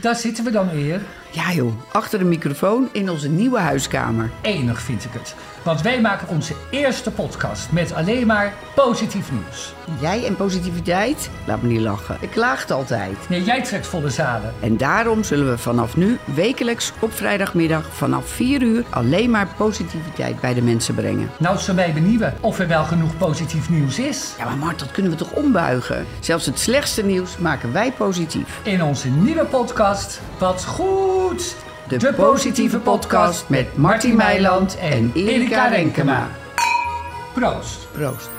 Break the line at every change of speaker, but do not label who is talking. daar zitten we dan weer.
Ja joh, achter de microfoon in onze nieuwe huiskamer.
Enig vind ik het. Want wij maken onze eerste podcast met alleen maar positief nieuws.
Jij en positiviteit? Laat me niet lachen. Ik klaagt altijd.
Nee, jij trekt volle zalen.
En daarom zullen we vanaf nu wekelijks op vrijdagmiddag vanaf 4 uur alleen maar positiviteit bij de mensen brengen.
Nou, zullen wij benieuwen of er wel genoeg positief nieuws is.
Ja, maar Mart, dat kunnen we toch ombuigen? Zelfs het slechtste nieuws maken wij positief.
In onze nieuwe podcast Wat Goed!
De, positieve podcast met Martin Meiland en Erika Renkema.
Proost!
Proost.